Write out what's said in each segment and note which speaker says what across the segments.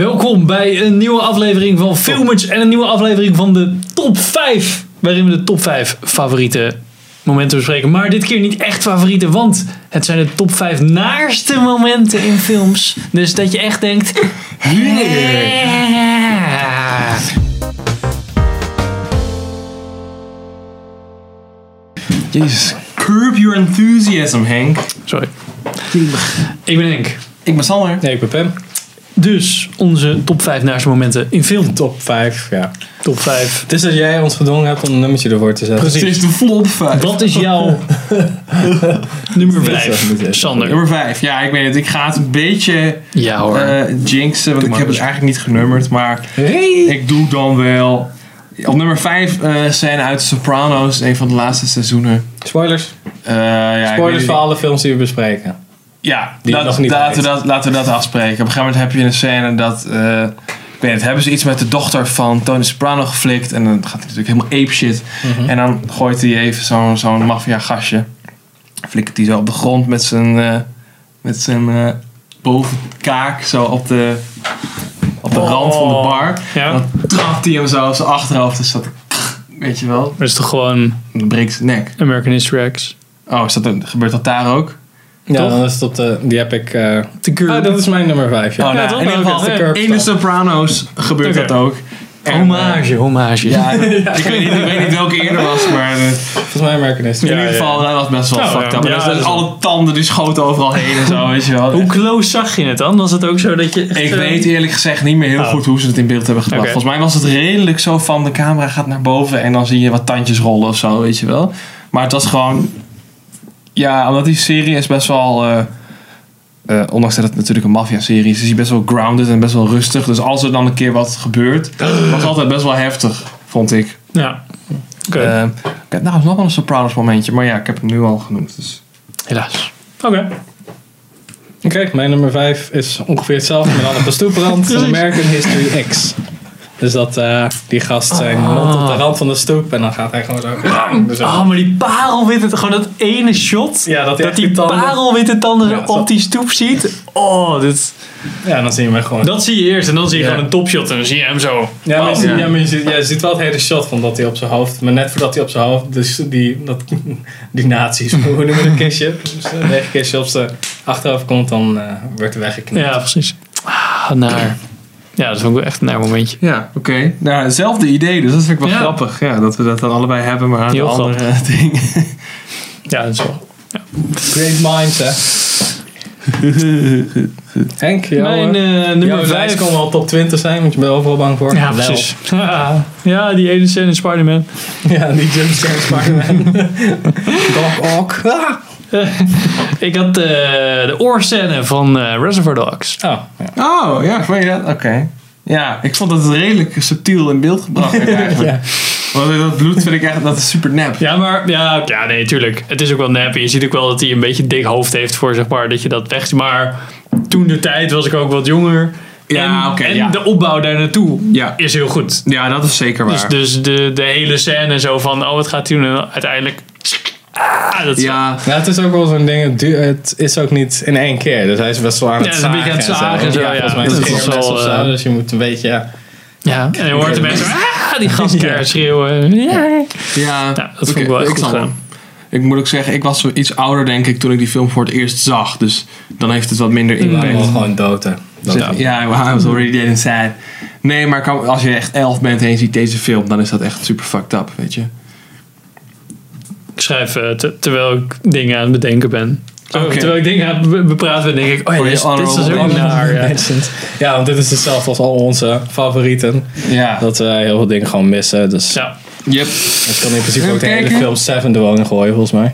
Speaker 1: Welkom bij een nieuwe aflevering van Filmers en een nieuwe aflevering van de top 5. Waarin we de top 5 favoriete momenten bespreken. Maar dit keer niet echt favoriete, want het zijn de top 5 naarste momenten in films. Dus dat je echt denkt. "Yeah."
Speaker 2: Jezus.
Speaker 3: Curb your enthusiasm, Henk.
Speaker 1: Sorry. Ik ben Henk.
Speaker 3: Ik ben Sander.
Speaker 2: Nee, ik ben Pam.
Speaker 1: Dus onze top 5 naarste momenten in film.
Speaker 2: Top 5, ja.
Speaker 1: Top 5.
Speaker 2: Het is dat jij ons gedwongen hebt om een nummertje ervoor te zetten.
Speaker 1: Precies.
Speaker 3: Het is de flop 5.
Speaker 1: Wat is jouw nummer 5?
Speaker 2: niet echt.
Speaker 1: Sander.
Speaker 3: Nummer 5. Ja, ik weet het. Ik ga het een beetje
Speaker 1: Ja hoor.
Speaker 3: eh, jinxen, want ik heb het eigenlijk niet genummerd. Maar ik doe dan wel... Op nummer 5 zijn uit Sopranos, een van de laatste seizoenen.
Speaker 2: Spoilers.
Speaker 3: Eh, ja, ik weet
Speaker 2: Spoilers
Speaker 3: niet-
Speaker 2: voor alle films die we bespreken.
Speaker 3: Ja,
Speaker 2: Die je nog
Speaker 3: laat,
Speaker 2: niet
Speaker 3: laten,
Speaker 2: weet.
Speaker 3: we dat, laten we dat afspreken. Op een gegeven moment heb je een scène dat... eh, ik weet het, hebben ze iets met de dochter van Tony Soprano geflikt. En dan gaat hij natuurlijk helemaal ape shit.
Speaker 2: Mhm.
Speaker 3: En dan gooit hij even zo'n zo'n maffia gasje. Flikkert hij zo op de grond met zijn, eh, met zijn eh, bovenkaak. Zo op de, op de rand van
Speaker 2: Oh.
Speaker 3: de bar. En
Speaker 1: Ja,
Speaker 3: dan trapt hij hem zo op zijn achterhoofd. Dus dat... Weet je wel.
Speaker 1: dat is toch gewoon
Speaker 3: En dan breekt zijn nek.
Speaker 1: American History X.
Speaker 3: Oh, is dat, gebeurt dat daar ook?
Speaker 2: Ja,
Speaker 1: Toch?
Speaker 2: dan is dat de, die heb ik... eh
Speaker 1: The Curb.
Speaker 2: oh, dat is mijn nummer 5, ja.
Speaker 3: Oh, nou,
Speaker 1: toch?
Speaker 3: in ieder
Speaker 1: Oké,
Speaker 3: geval,
Speaker 1: de
Speaker 2: Curb
Speaker 3: in de Soprano's gebeurt
Speaker 1: Oké.
Speaker 3: dat ook. En, eh,
Speaker 1: hommage, hommage.
Speaker 3: Ja, ik, weet niet, ik weet niet welke eerder was, maar eh,
Speaker 2: Volgens mij American History.
Speaker 3: in ieder geval, dat was best wel
Speaker 1: Nou,
Speaker 3: fucked
Speaker 1: ja.
Speaker 3: up.
Speaker 1: Ja,
Speaker 3: dus
Speaker 1: dat
Speaker 3: dat
Speaker 1: is
Speaker 3: alle tanden die schoten overal heen en zo, weet je wel.
Speaker 1: Hoe close zag je het dan? Was het ook zo dat je... echt,
Speaker 3: Ik
Speaker 1: eh,
Speaker 3: weet eerlijk gezegd niet meer heel
Speaker 1: Oh.
Speaker 3: goed hoe ze het in beeld hebben gebracht.
Speaker 1: Oké.
Speaker 3: Volgens mij was het redelijk zo van de camera gaat naar boven en dan zie je wat tandjes rollen of zo, weet je wel. Maar het was gewoon, ja, omdat die serie is best wel, eh, eh, ondanks dat het natuurlijk een maffia-serie is, is die best wel grounded en best wel rustig. Dus als er dan een keer wat gebeurt, was altijd best wel heftig, vond ik.
Speaker 1: Ja. Oké,
Speaker 3: Eh, ik heb nou nog wel een Sopranos momentje, maar ja, ik heb hem nu al genoemd. Dus.
Speaker 1: helaas. Oké.
Speaker 2: Oké, mijn nummer 5 is ongeveer hetzelfde, maar dan op de stoeprand van
Speaker 1: Precies.
Speaker 2: American History X. Dus dat eh, die gast zijn mond op de rand van de stoep en dan gaat hij gewoon zo... Dus
Speaker 1: Ah, maar die parelwitte... Gewoon dat ene shot...
Speaker 2: Ja, dat,
Speaker 1: dat
Speaker 2: echt
Speaker 1: die
Speaker 2: tanden-
Speaker 1: parelwitte tanden
Speaker 2: Ja,
Speaker 1: zo op
Speaker 2: dat-
Speaker 1: die stoep ziet. Oh, dit...
Speaker 2: Ja, dan zie je mij gewoon...
Speaker 1: Dat zie je eerst en dan zie je
Speaker 2: Ja.
Speaker 1: gewoon een topshot en dan zie je hem zo.
Speaker 2: Ja, maar, je,
Speaker 1: Wow.
Speaker 2: ziet- ja, maar je, ziet, ja, je ziet wel het hele shot van dat hij op zijn hoofd, maar net voordat hij op zijn hoofd, dus die, dat, die nazi's, hoe noemen we dat kistje? Dus een negen kistje op zijn achterhoofd komt, dan eh wordt hij weggeknipt.
Speaker 1: Ja, precies. Ah, naar. Ja, dat vond ik wel echt een naar momentje.
Speaker 3: Ja, oké. Nou, hetzelfde idee, dus dat vind ik wel
Speaker 1: Ja.
Speaker 3: grappig. Ja, dat we dat dan allebei hebben, maar aan de
Speaker 1: Heel
Speaker 3: andere ding.
Speaker 1: Ja, dat is wel.
Speaker 2: Great minds, hè? Henk, jouw,
Speaker 1: Mijn
Speaker 2: eh,
Speaker 1: eh,
Speaker 2: jouw
Speaker 1: nummer
Speaker 2: lijst
Speaker 1: 5.
Speaker 2: kon wel top 20 zijn, want je bent overal bang voor.
Speaker 1: Ja,
Speaker 2: Wel.
Speaker 1: precies. Ja, ja, die ene scène in Spider-Man.
Speaker 2: Ja, die Jim Jones Spider-Man. Doc Ock. Ah.
Speaker 1: Ik had eh, de oorscène van eh, Reservoir Dogs.
Speaker 2: Oh, ja.
Speaker 3: Oh, ja, vond je dat? Oké. Ja, ik vond dat het redelijk subtiel in beeld gebracht werd eigenlijk.
Speaker 2: Ja.
Speaker 3: Want dat bloed vind ik echt, dat is super nep.
Speaker 1: Ja, maar ja, ja, nee, tuurlijk. Het is ook wel nep. Je ziet ook wel dat hij een beetje een dik hoofd heeft voor, zeg maar, dat je dat weg. Maar toen de tijd was ik ook wat jonger.
Speaker 3: Ja,
Speaker 1: en
Speaker 3: oké,
Speaker 1: en
Speaker 3: ja.
Speaker 1: de opbouw daar naartoe
Speaker 3: Ja.
Speaker 1: is heel goed.
Speaker 3: Ja, dat is zeker
Speaker 1: Dus, dus de, de hele scène zo van, oh, wat gaat hij doen? En uiteindelijk. Ah, dat is
Speaker 3: ja,
Speaker 2: Nou, het is ook wel zo'n ding, het, duurt- het is ook niet in één keer. Dus hij is best wel aan het
Speaker 1: Ja, het is een
Speaker 2: zagen.
Speaker 1: beetje aan het zagen
Speaker 2: en
Speaker 1: zo, ja.
Speaker 2: volgens mij
Speaker 1: Dat
Speaker 2: is het
Speaker 1: is
Speaker 2: eerder
Speaker 1: wel,
Speaker 2: of zo,
Speaker 1: eh,
Speaker 2: dus je moet een beetje... Ja,
Speaker 1: Ja, en je hoort de mensen ah, die gastkar
Speaker 2: Ja.
Speaker 1: schreeuwen. Ja.
Speaker 3: ja.
Speaker 1: Ja, dat vond ik
Speaker 3: Oké,
Speaker 1: wel echt goed
Speaker 3: snap
Speaker 1: gedaan.
Speaker 3: hem. Ik moet ook zeggen, ik was zo iets ouder denk ik toen ik die film voor het eerst zag. Dus dan heeft het wat
Speaker 1: Mm.
Speaker 3: minder impact.
Speaker 2: wel gewoon dood, hè. Dat
Speaker 3: Ja, I was already dead and sad. Nee, maar kan- als je echt elf bent en je ziet deze film, dan is dat echt super fucked up, weet je.
Speaker 1: Ik schrijf eh, te- terwijl ik dingen aan het bedenken ben. Zo,
Speaker 3: Oké.
Speaker 1: Terwijl ik dingen aan het be- bepraten ben, denk ik, oh ja,
Speaker 3: Voor je
Speaker 1: dit is dit is
Speaker 3: honorable
Speaker 1: ook naar. Ja.
Speaker 2: Mentioned. Ja, want dit is hetzelfde als al onze favorieten.
Speaker 3: Ja.
Speaker 2: Dat we heel veel dingen gewoon missen. Dus
Speaker 1: Ja.
Speaker 3: Yep.
Speaker 2: het kan in principe
Speaker 3: Even
Speaker 2: ook de hele
Speaker 3: kijken.
Speaker 2: film Seven de woning gooien, volgens mij.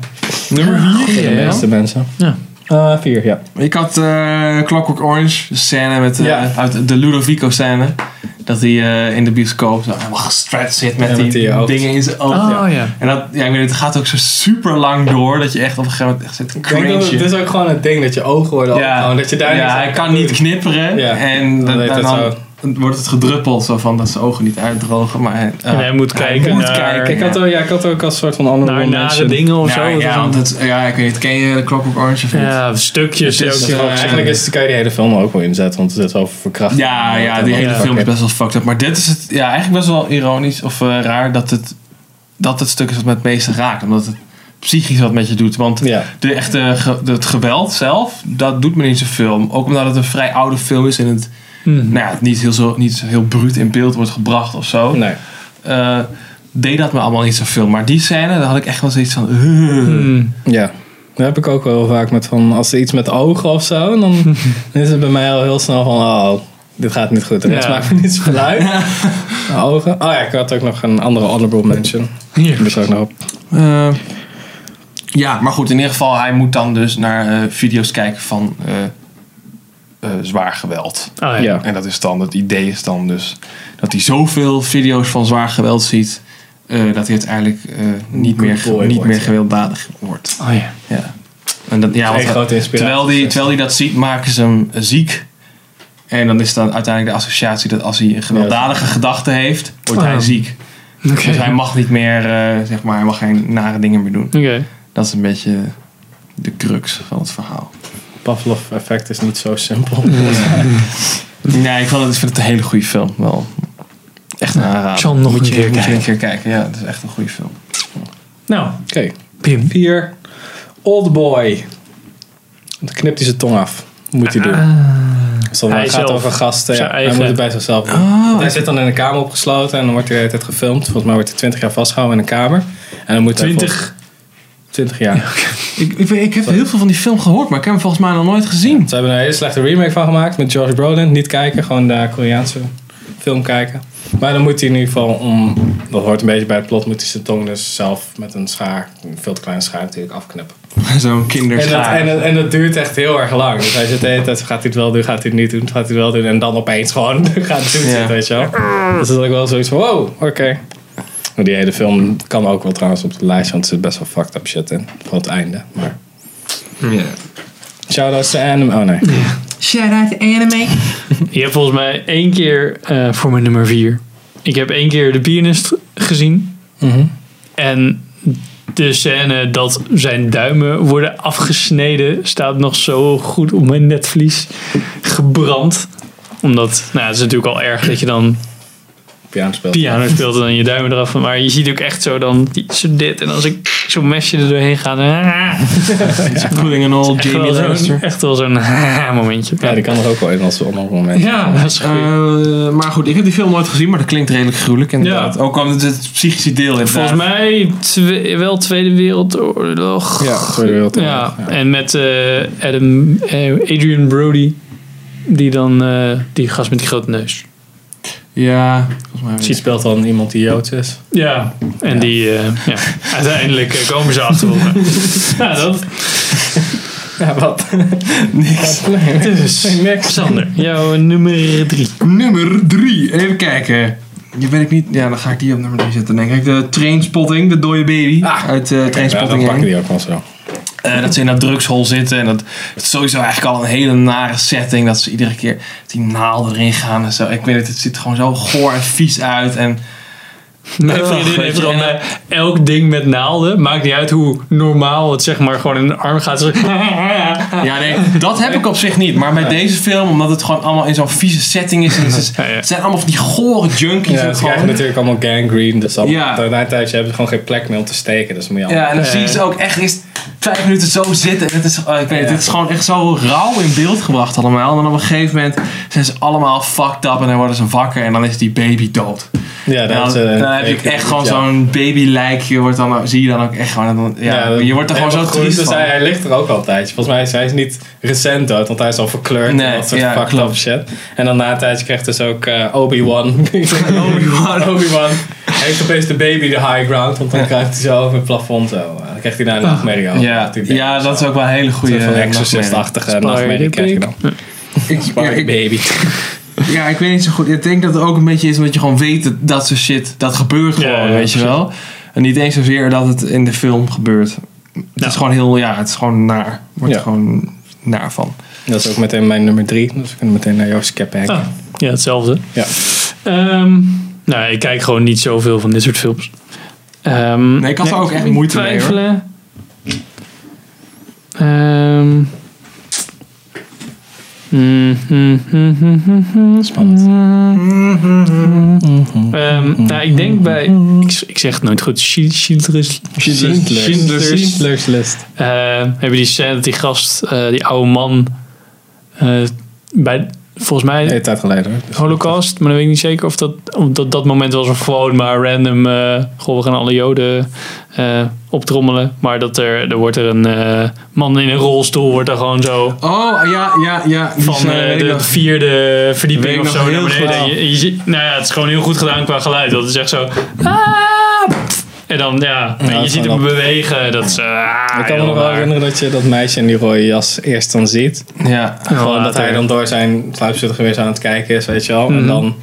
Speaker 3: Nummer
Speaker 2: Voor de
Speaker 1: Ah, Ja.
Speaker 2: meeste mensen.
Speaker 1: Ja.
Speaker 2: Eh, vier, ja.
Speaker 3: 4. Ik had eh, Clockwork Orange, de scène met, eh,
Speaker 2: Ja.
Speaker 3: uit de Ludovico scène. Dat hij eh, in de bioscoop zo helemaal gestrapt zit met
Speaker 2: Ja, met
Speaker 3: die,
Speaker 2: die Ah. hoofd.
Speaker 3: dingen in zijn ogen.
Speaker 1: Oh ja.
Speaker 3: En dat, ja, ik weet niet, het gaat ook zo super lang door dat je echt op een gegeven moment echt zit te
Speaker 2: Ik denk dat het,
Speaker 3: cringen.
Speaker 2: is ook gewoon het ding oh, dat je ogen worden
Speaker 3: Ja,
Speaker 2: dat je daar
Speaker 3: ja hij kan niet knipperen.
Speaker 2: Ja.
Speaker 3: En
Speaker 2: Dan
Speaker 3: dat-
Speaker 2: heeft
Speaker 3: en
Speaker 2: het
Speaker 3: dan,
Speaker 2: zo.
Speaker 3: wordt het gedruppeld, zo van dat zijn ogen niet uitdrogen, maar eh, hij, ja.
Speaker 1: En hij moet kijken
Speaker 3: moet
Speaker 1: naar-
Speaker 3: kijken,
Speaker 2: Ik
Speaker 3: ja.
Speaker 2: had,
Speaker 3: Nou,
Speaker 2: ook, ja, ik had ook als soort van andere
Speaker 1: naar nare dingen of zo.
Speaker 3: Ja,
Speaker 1: Dat is
Speaker 3: ja,
Speaker 1: een-
Speaker 3: want het, ja, ik weet niet, ken je de Clockwork Orange of niet?
Speaker 1: ja, stukjes.
Speaker 3: Het
Speaker 1: die
Speaker 3: is,
Speaker 1: ook
Speaker 3: eh,
Speaker 1: zo-
Speaker 2: Eigenlijk is, kan je die hele film er ook wel inzetten, want het is over verkrachting.
Speaker 3: Ja, ja, die hele
Speaker 1: Ja,
Speaker 3: film
Speaker 2: oké.
Speaker 3: is best wel fucked up. Maar dit is het, ja, eigenlijk best wel ironisch of eh, raar dat het, dat het stuk is wat me het meeste raakt. Omdat het psychisch wat met je doet. Want
Speaker 2: Ja.
Speaker 3: de echte, ge- het geweld zelf, dat doet me niet zoveel. Ook omdat het een vrij oude film is en het,
Speaker 1: Hmm.
Speaker 3: nou ja, het niet, heel zo, niet zo heel bruut in beeld wordt gebracht of zo.
Speaker 2: Nee.
Speaker 3: Eh, deed dat me allemaal niet zoveel. Maar die scène, daar had ik echt wel zoiets van... eh.
Speaker 1: Hmm.
Speaker 2: Ja. Dat heb ik ook wel vaak met van, als er iets met ogen of zo, dan is het bij mij al heel snel van, oh, dit gaat niet goed. En dat
Speaker 1: Ja.
Speaker 2: maakt me niet zoveel uit.
Speaker 3: eh.
Speaker 2: Ogen. Oh ja, ik had ook nog een andere honorable mention.
Speaker 1: Hier.
Speaker 2: Die moest ook nog op.
Speaker 3: Eh, ja, maar goed, in ieder geval, hij moet dan dus naar eh, video's kijken van eh, eh, zwaar geweld.
Speaker 1: Oh, ja.
Speaker 2: Ja.
Speaker 3: En dat is dan, het idee is dan dus dat hij zoveel video's van zwaar geweld ziet, eh, dat hij uiteindelijk eh, niet,
Speaker 2: Good
Speaker 3: meer, ge-
Speaker 2: boy
Speaker 3: niet
Speaker 2: wordt,
Speaker 3: meer
Speaker 2: ja.
Speaker 3: gewelddadig wordt.
Speaker 1: Oh, ja.
Speaker 3: Ja. En dat, ja,
Speaker 2: Twee
Speaker 3: want,
Speaker 2: grote inspiraties.
Speaker 3: terwijl, hij, terwijl hij dat ziet, maken ze hem eh, ziek. En dan is dan uiteindelijk de associatie dat als hij een gewelddadige gedachte heeft, wordt
Speaker 1: Oh.
Speaker 3: hij ziek.
Speaker 1: Oké.
Speaker 3: Dus hij mag niet meer, eh, zeg maar, hij mag geen nare dingen meer doen.
Speaker 1: Oké.
Speaker 3: Dat is een beetje de crux van het verhaal.
Speaker 2: Pavlov effect is niet zo simpel.
Speaker 3: Nee, ik vond het, ik vind het een hele goede film. Wel. Echt een aanrader.
Speaker 1: ik zal hem nog
Speaker 3: Moet
Speaker 1: een
Speaker 3: je-
Speaker 1: keer
Speaker 3: moet je
Speaker 1: kijken.
Speaker 3: een keer kijken. Ja, het is echt een goede film.
Speaker 1: Nou,
Speaker 2: Oké,
Speaker 1: Pim.
Speaker 2: vier. Oldboy. Dan knipt hij zijn tong af. Moet hij doen. Stel,
Speaker 1: Hij
Speaker 2: hij gaat
Speaker 1: zelf.
Speaker 2: over gasten.
Speaker 1: Zijn
Speaker 2: Ja, hij
Speaker 1: eigen.
Speaker 2: moet het bij zichzelf doen. Want hij zit dan in een kamer opgesloten en dan wordt hij de hele tijd gefilmd. Volgens mij wordt hij 20 jaar vastgehouden in een kamer. En dan moet hij volgens-
Speaker 1: 20.
Speaker 2: 20 jaar.
Speaker 3: Ik, ik, weet- ik heb heel veel van die film gehoord, maar ik heb hem volgens mij nog nooit gezien.
Speaker 2: Ze hebben er een hele slechte remake van gemaakt met George Brolin. Niet kijken, gewoon de Koreaanse film kijken. Maar dan moet hij in ieder geval om, dat hoort een beetje bij het plot, moet hij zijn tong dus zelf met een schaar, een veel te kleine schaar natuurlijk, afknippen.
Speaker 3: Zo'n
Speaker 2: En dat,
Speaker 3: kinderschaar.
Speaker 2: en, dat, en dat duurt echt heel erg lang. Dus hij zit de hele tijd, gaat hij het wel doen, gaat hij het niet doen, gaat hij het wel doen. En dan opeens gewoon gaat het doen,
Speaker 3: Ja.
Speaker 2: weet je wel. Dus dat is ook wel zoiets van, wow, oké. Maar Die hele film kan ook wel trouwens op de lijst, want er zit best wel fucked up shit in. Vooral het einde. Maar.
Speaker 3: Ja.
Speaker 2: Shoutouts to anime. Oh nee.
Speaker 1: Je hebt volgens mij één keer eh, voor mijn nummer vier. Ik heb één keer de pianist gezien.
Speaker 2: Mhm.
Speaker 1: En de scène dat zijn duimen worden afgesneden staat nog zo goed op mijn netvlies gebrand. Omdat, nou, het is natuurlijk al erg dat je dan
Speaker 2: Piano speelt.
Speaker 1: piano speelt en dan je duimen eraf. Maar je ziet ook echt zo dan die- zo dit. En als ik zo'n mesje er doorheen ga, dan, ah,
Speaker 3: Pulling an old
Speaker 1: echt,
Speaker 3: Jamie
Speaker 1: wel zo'n,
Speaker 3: Lannister.
Speaker 1: echt wel zo'n ah, momentje.
Speaker 2: Ja, die kan er ook wel in als een ander moment.
Speaker 1: Ja, dat is goed.
Speaker 3: Eh, maar goed, ik heb die film nooit gezien, maar dat klinkt redelijk gruwelijk inderdaad.
Speaker 1: Ja.
Speaker 3: Ook al het, het psychische deel inderdaad.
Speaker 1: Volgens mij twe- wel Tweede Wereldoorlog.
Speaker 2: Ja, Tweede Wereldoorlog,
Speaker 1: Ja,
Speaker 2: ja.
Speaker 1: en met eh, Adam, eh, Adrian Brody, die dan eh, die gast met die grote neus.
Speaker 3: Ja, volgens mij.
Speaker 2: She speelt dan iemand die Joods is.
Speaker 1: Ja, en die eh, ja, uiteindelijk eh, komen ze achter elkaar. nou, dat
Speaker 2: Ja, wat?
Speaker 3: Niks.
Speaker 2: Nee,
Speaker 1: is dus
Speaker 2: niks.
Speaker 1: Sander, jouw nummer drie.
Speaker 3: Nummer 3. Even kijken. Die weet ik niet. Ja, dan ga ik die op nummer 3 zetten, denk ik. De Trainspotting, de dode baby. uit eh
Speaker 2: Ja, dan
Speaker 3: Trainspotting
Speaker 2: pakken
Speaker 3: 1.
Speaker 2: die ook wel zo.
Speaker 3: Eh, dat ze in dat drugshol zitten. En dat het is sowieso eigenlijk al een hele nare setting. Dat ze iedere keer die naalden erin gaan en zo. Ik weet het, het ziet er gewoon zo goor en vies uit. En
Speaker 1: Mijn
Speaker 3: Ugh,
Speaker 1: vriendin
Speaker 3: weet
Speaker 1: heeft
Speaker 3: je,
Speaker 1: dan
Speaker 3: en-
Speaker 1: eh, elk ding met naalden. Maakt niet uit hoe normaal het zeg maar gewoon in de arm gaat. Ze zegt,
Speaker 3: ja, nee, dat heb ik op zich niet. Maar bij deze film, omdat het gewoon allemaal in zo'n vieze setting is. En het, is-
Speaker 1: Ja, ja.
Speaker 3: het zijn allemaal van die gore junkies.
Speaker 2: Ja,
Speaker 3: ook
Speaker 2: ze
Speaker 3: gewoon.
Speaker 2: krijgen natuurlijk allemaal gangrene. Dus dan,
Speaker 3: Ja.
Speaker 2: na een tijdje hebben ze gewoon geen plek meer om te steken. Dus moet je
Speaker 3: Ja, en dan
Speaker 1: Ja.
Speaker 3: zie je ze ook echt eerst vijf minuten zo zitten. En het is, eh, ik weet het, het is gewoon echt zo rauw in beeld gebracht allemaal. En dan op een gegeven moment zijn ze allemaal fucked up en dan worden ze wakker en dan is die baby dood.
Speaker 2: Ja,
Speaker 3: En
Speaker 2: dat
Speaker 3: dan,
Speaker 2: is, eh,
Speaker 3: Nou, dan heb je ook echt gewoon
Speaker 2: ja.
Speaker 3: zo'n babylijkje, wordt dan, zie je dan ook echt gewoon. en dan- ja,
Speaker 2: dat-
Speaker 3: je wordt er gewoon zo
Speaker 2: helemaal groen.
Speaker 3: triest
Speaker 2: Dus
Speaker 3: van.
Speaker 2: hij, hij ligt er ook altijd. Volgens mij is hij is niet recent dood, want hij is al verkleurd
Speaker 3: Nee,
Speaker 2: en dat soort
Speaker 3: ja,
Speaker 2: fucked
Speaker 3: klopt.
Speaker 2: up shit. En dan na een tijdje krijgt dus ook eh, Obi-Wan.
Speaker 3: Obi-Wan.
Speaker 2: Obi-Wan heeft opeens de baby de high ground, want dan krijgt hij zo over het plafond zo. En dan krijgt hij daar een nachtmerrie over.
Speaker 3: Ah, Ja,
Speaker 2: hij denkt,
Speaker 3: ja, dat is eh, ook wel een hele
Speaker 2: Een soort van
Speaker 3: goede
Speaker 2: exorcist-achtige nachtmerrie krijg je dan.
Speaker 3: ik-
Speaker 2: baby.
Speaker 3: Ja, ik weet niet zo goed. Ik denk dat het ook een beetje is omdat je gewoon weet dat dat soort shit, dat gebeurt gewoon,
Speaker 1: ja,
Speaker 3: weet je wel. En niet eens zozeer dat het in de film gebeurt. Het is gewoon heel, ja, het is gewoon naar. Wordt
Speaker 2: Ja.
Speaker 3: er gewoon naar van.
Speaker 2: Dat is ook meteen mijn nummer drie. Dus we kunnen meteen naar jouw skep hacken.
Speaker 1: Ah, Ja, hetzelfde.
Speaker 2: Ja.
Speaker 1: Ehm, nou, ik kijk gewoon niet zoveel van dit soort films. Ehm,
Speaker 3: Nee, ik had er ook echt moeite mee, hoor.
Speaker 1: twijfelen. Ehm. Mm, mm, mm, mm, mm, mm,
Speaker 2: Spannend.
Speaker 1: mm. Ehm, nou, ik denk bij. Ik, ik zeg het nooit goed. Schi- Schindler's
Speaker 2: Schindler's-
Speaker 1: Schindler's-
Speaker 2: Schindler's List.
Speaker 1: eh, hebben die scène dat die gast, eh, die oude man, eh, bij, volgens mij
Speaker 2: Hele tijd geleden. hoor. Dus-
Speaker 1: Holocaust, maar dan weet ik niet zeker of dat, of dat, dat moment was of gewoon maar random, eh goh, we gaan alle joden eh, optrommelen. Maar dat er, er wordt er een eh, man in een rolstoel, wordt er gewoon zo
Speaker 3: Oh, ja, ja, ja. Die
Speaker 1: van
Speaker 3: zijn
Speaker 1: eh,
Speaker 3: hele-
Speaker 1: de vierde verdieping
Speaker 3: Weet
Speaker 1: of
Speaker 3: ik
Speaker 1: zo
Speaker 3: nog
Speaker 1: naar
Speaker 3: heel
Speaker 1: beneden.
Speaker 3: goed.
Speaker 1: En je- je ziet- nou ja, het is gewoon heel goed gedaan qua geluid. Dat is echt zo. "Ah!" en dan, ja, en
Speaker 2: dat
Speaker 1: je
Speaker 2: is
Speaker 1: ziet
Speaker 2: wel
Speaker 1: hem bewegen. Dat is. ah,
Speaker 2: Ik kan me
Speaker 1: heel
Speaker 2: nog wel
Speaker 1: raar.
Speaker 2: herinneren dat je dat meisje in die rode jas eerst dan ziet.
Speaker 3: Ja.
Speaker 2: Gewoon dat
Speaker 1: later.
Speaker 2: hij dan door zijn geweest aan het kijken is, weet je wel.
Speaker 1: Mhm.
Speaker 2: En dan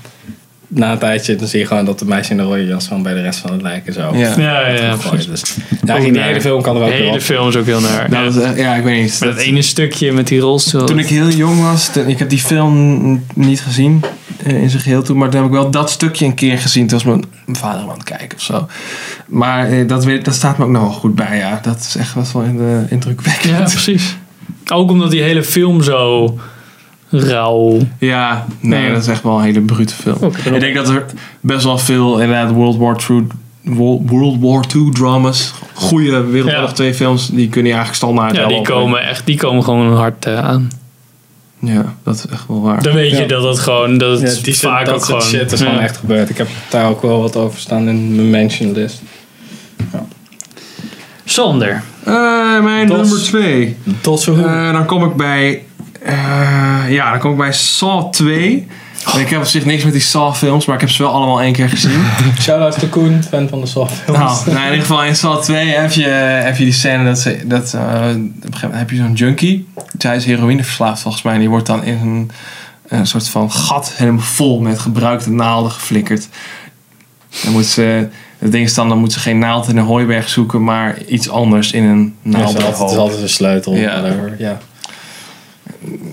Speaker 2: na een tijdje dan zie je gewoon dat de meisje in de rode jas gewoon bij de rest van het lijken zo.
Speaker 3: Ja.
Speaker 1: Ja, ja, ja.
Speaker 2: Gewoon, dus, nou, in die
Speaker 1: naar.
Speaker 2: hele film kan er
Speaker 1: De
Speaker 2: ook wel.
Speaker 1: hele film is ook heel naar.
Speaker 3: Nou, dat is echt- ja, ik weet niet.
Speaker 1: Met dat ene stukje met die rolstoel.
Speaker 3: Toen ik heel jong was, toen- ik heb die film n- niet gezien eh, in zijn geheel toen, maar toen heb ik wel dat stukje een keer gezien. Toen was mijn, mijn vader hem aan het kijken of zo. Maar eh, dat, weet, dat staat me ook nog wel goed bij, ja. Dat is echt wat wel in de
Speaker 1: Ja,
Speaker 3: indrukwekkend.
Speaker 1: precies. Ook omdat die hele film zo rauw.
Speaker 3: Ja, nee,
Speaker 1: Ja.
Speaker 3: dat is echt wel een hele brute film.
Speaker 1: Oké.
Speaker 3: Ik denk dat er best wel veel inderdaad World War II, Wo- World War II dramas, goede Wereldoorlog
Speaker 1: Ja.
Speaker 3: 2 films, die kunnen je eigenlijk standaard
Speaker 1: Ja,
Speaker 3: wel
Speaker 1: die
Speaker 3: op-
Speaker 1: komen, echt, die komen gewoon hard eh, aan.
Speaker 3: Ja, dat is echt wel waar.
Speaker 1: Dan weet je
Speaker 2: Ja.
Speaker 1: dat het gewoon, dat het
Speaker 2: Ja, die
Speaker 1: vaak
Speaker 2: dat
Speaker 1: ook
Speaker 2: soort
Speaker 1: gewoon...
Speaker 2: shit is
Speaker 1: Ja.
Speaker 2: gewoon echt gebeurd. Ik heb daar ook wel wat over staan in mijn mention list.
Speaker 1: Sander.
Speaker 3: Eh, mijn
Speaker 2: Dos.
Speaker 3: nummer 2.
Speaker 2: Tot zo
Speaker 3: Eh, dan kom ik bij. eh, ja, dan kom ik bij Saw 2. En Ik heb op zich niks met die Saw-films, maar ik heb ze wel allemaal één keer gezien.
Speaker 2: Shout-out to Koen, fan van de softfilms.
Speaker 3: nou, nou, in ieder geval in Saw 2 heb je, heb je die scène dat ze. Dat, eh, op een gegeven moment heb je zo'n junkie. Zij is heroïne verslaafd volgens mij. En die wordt dan in een, een soort van gat helemaal vol met gebruikte naalden geflikkerd. Dan moet ze. Het ding is dan, dan moet ze geen naald in een hooiberg zoeken, maar iets anders in een
Speaker 2: Ja,
Speaker 3: naald.
Speaker 2: het is altijd- het is altijd een sleutel.
Speaker 3: Ja.
Speaker 2: whatever. ja.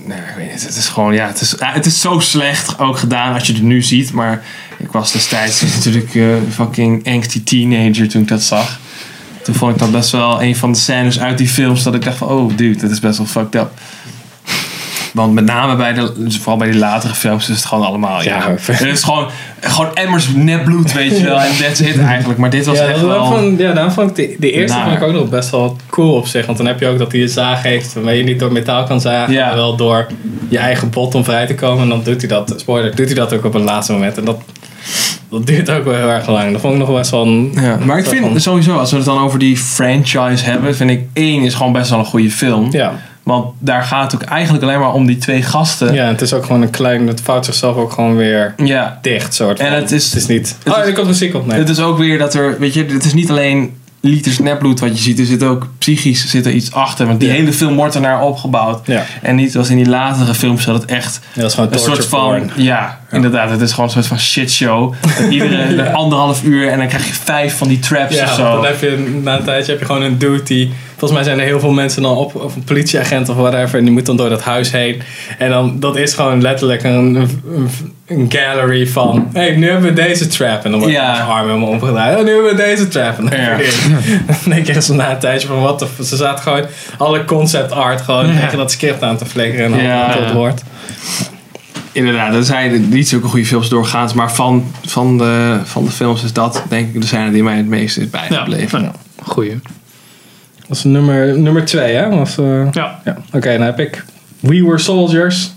Speaker 3: Nee, ik weet niet. Het is gewoon, ja, het is, ah, het is zo slecht ook gedaan als je het nu ziet. Maar ik was destijds natuurlijk eh, fucking angsty teenager toen ik dat zag. Toen vond ik dat best wel een van de scènes uit die films dat ik dacht van, oh dude, dat is best wel fucked up. Want met name bij de, dus vooral bij die latere films is het gewoon allemaal, ja.
Speaker 2: Ja,
Speaker 3: Het is gewoon, gewoon emmers net bloed, weet je wel. En that's it eigenlijk. Maar dit was
Speaker 2: ja,
Speaker 3: echt
Speaker 2: dat-
Speaker 3: wel...
Speaker 2: daarvan- ja, daarom vond ik de, de eerste
Speaker 3: Naar.
Speaker 2: vond ik ook nog best wel cool op zich. Want dan heb je ook dat hij een zaag heeft waarmee je niet door metaal kan zagen.
Speaker 3: Ja.
Speaker 2: Maar wel door je eigen bot om vrij te komen. En dan doet hij dat, spoiler, doet hij dat ook op het laatste moment. En dat, dat duurt ook wel heel erg lang. Dat vond ik nog best wel een...
Speaker 3: Ja, maar ik
Speaker 2: soort
Speaker 3: vind
Speaker 2: van-
Speaker 3: sowieso, als we het dan over die franchise hebben, vind ik één is gewoon best wel een goede film.
Speaker 2: Ja.
Speaker 3: Want daar gaat het ook eigenlijk alleen maar om die twee gasten.
Speaker 2: ja, het is ook gewoon een klein... Het vouwt zichzelf ook gewoon weer
Speaker 3: Ja.
Speaker 2: dicht, soort
Speaker 3: En
Speaker 2: van.
Speaker 3: het is-
Speaker 2: Het is niet...
Speaker 3: het
Speaker 2: oh,
Speaker 3: is-
Speaker 2: er komt muziek op. Nee.
Speaker 3: Het is ook weer dat er, weet je, het is niet alleen liters nepbloed wat je ziet. Er zit ook psychisch zit er iets achter. Want die
Speaker 2: Ja.
Speaker 3: hele film wordt ernaar opgebouwd.
Speaker 2: ja.
Speaker 3: En niet als in die latere films dat het echt
Speaker 2: Ja, dat is gewoon
Speaker 3: een soort
Speaker 2: torture
Speaker 3: van,
Speaker 2: porn.
Speaker 3: ja, inderdaad. Het is gewoon een soort van shitshow. Dat Iedere anderhalf uur en dan krijg je vijf van die traps
Speaker 2: Ja,
Speaker 3: of
Speaker 2: want
Speaker 3: zo.
Speaker 2: dan heb je na een tijdje heb je gewoon een dude die... Volgens mij zijn er heel veel mensen dan op, of een politieagent of whatever. En die moet dan door dat huis heen. En dan, dat is gewoon letterlijk een, een, een gallery van... Hé, hey, nu hebben we deze trap. En dan wordt
Speaker 3: Ja.
Speaker 2: je arm helemaal omgedraaid. Oh, nu hebben we deze trap. En dan
Speaker 3: Ja.
Speaker 2: dan denk je echt zo na een tijdje van... Wat de f- Ze zaten gewoon alle concept art gewoon tegen dat script aan te flikkeren. En dan
Speaker 3: Ja.
Speaker 2: tot wordt.
Speaker 3: Inderdaad, er zijn niet zulke goede films doorgaans, maar van, van, de, van de films is dat denk ik de scène die mij het meest is bijgebleven.
Speaker 1: Ja. Goeie.
Speaker 2: Dat is nummer, nummer twee, hè? Of, eh,
Speaker 1: Ja.
Speaker 2: Ja, oké, dan heb ik We Were Soldiers.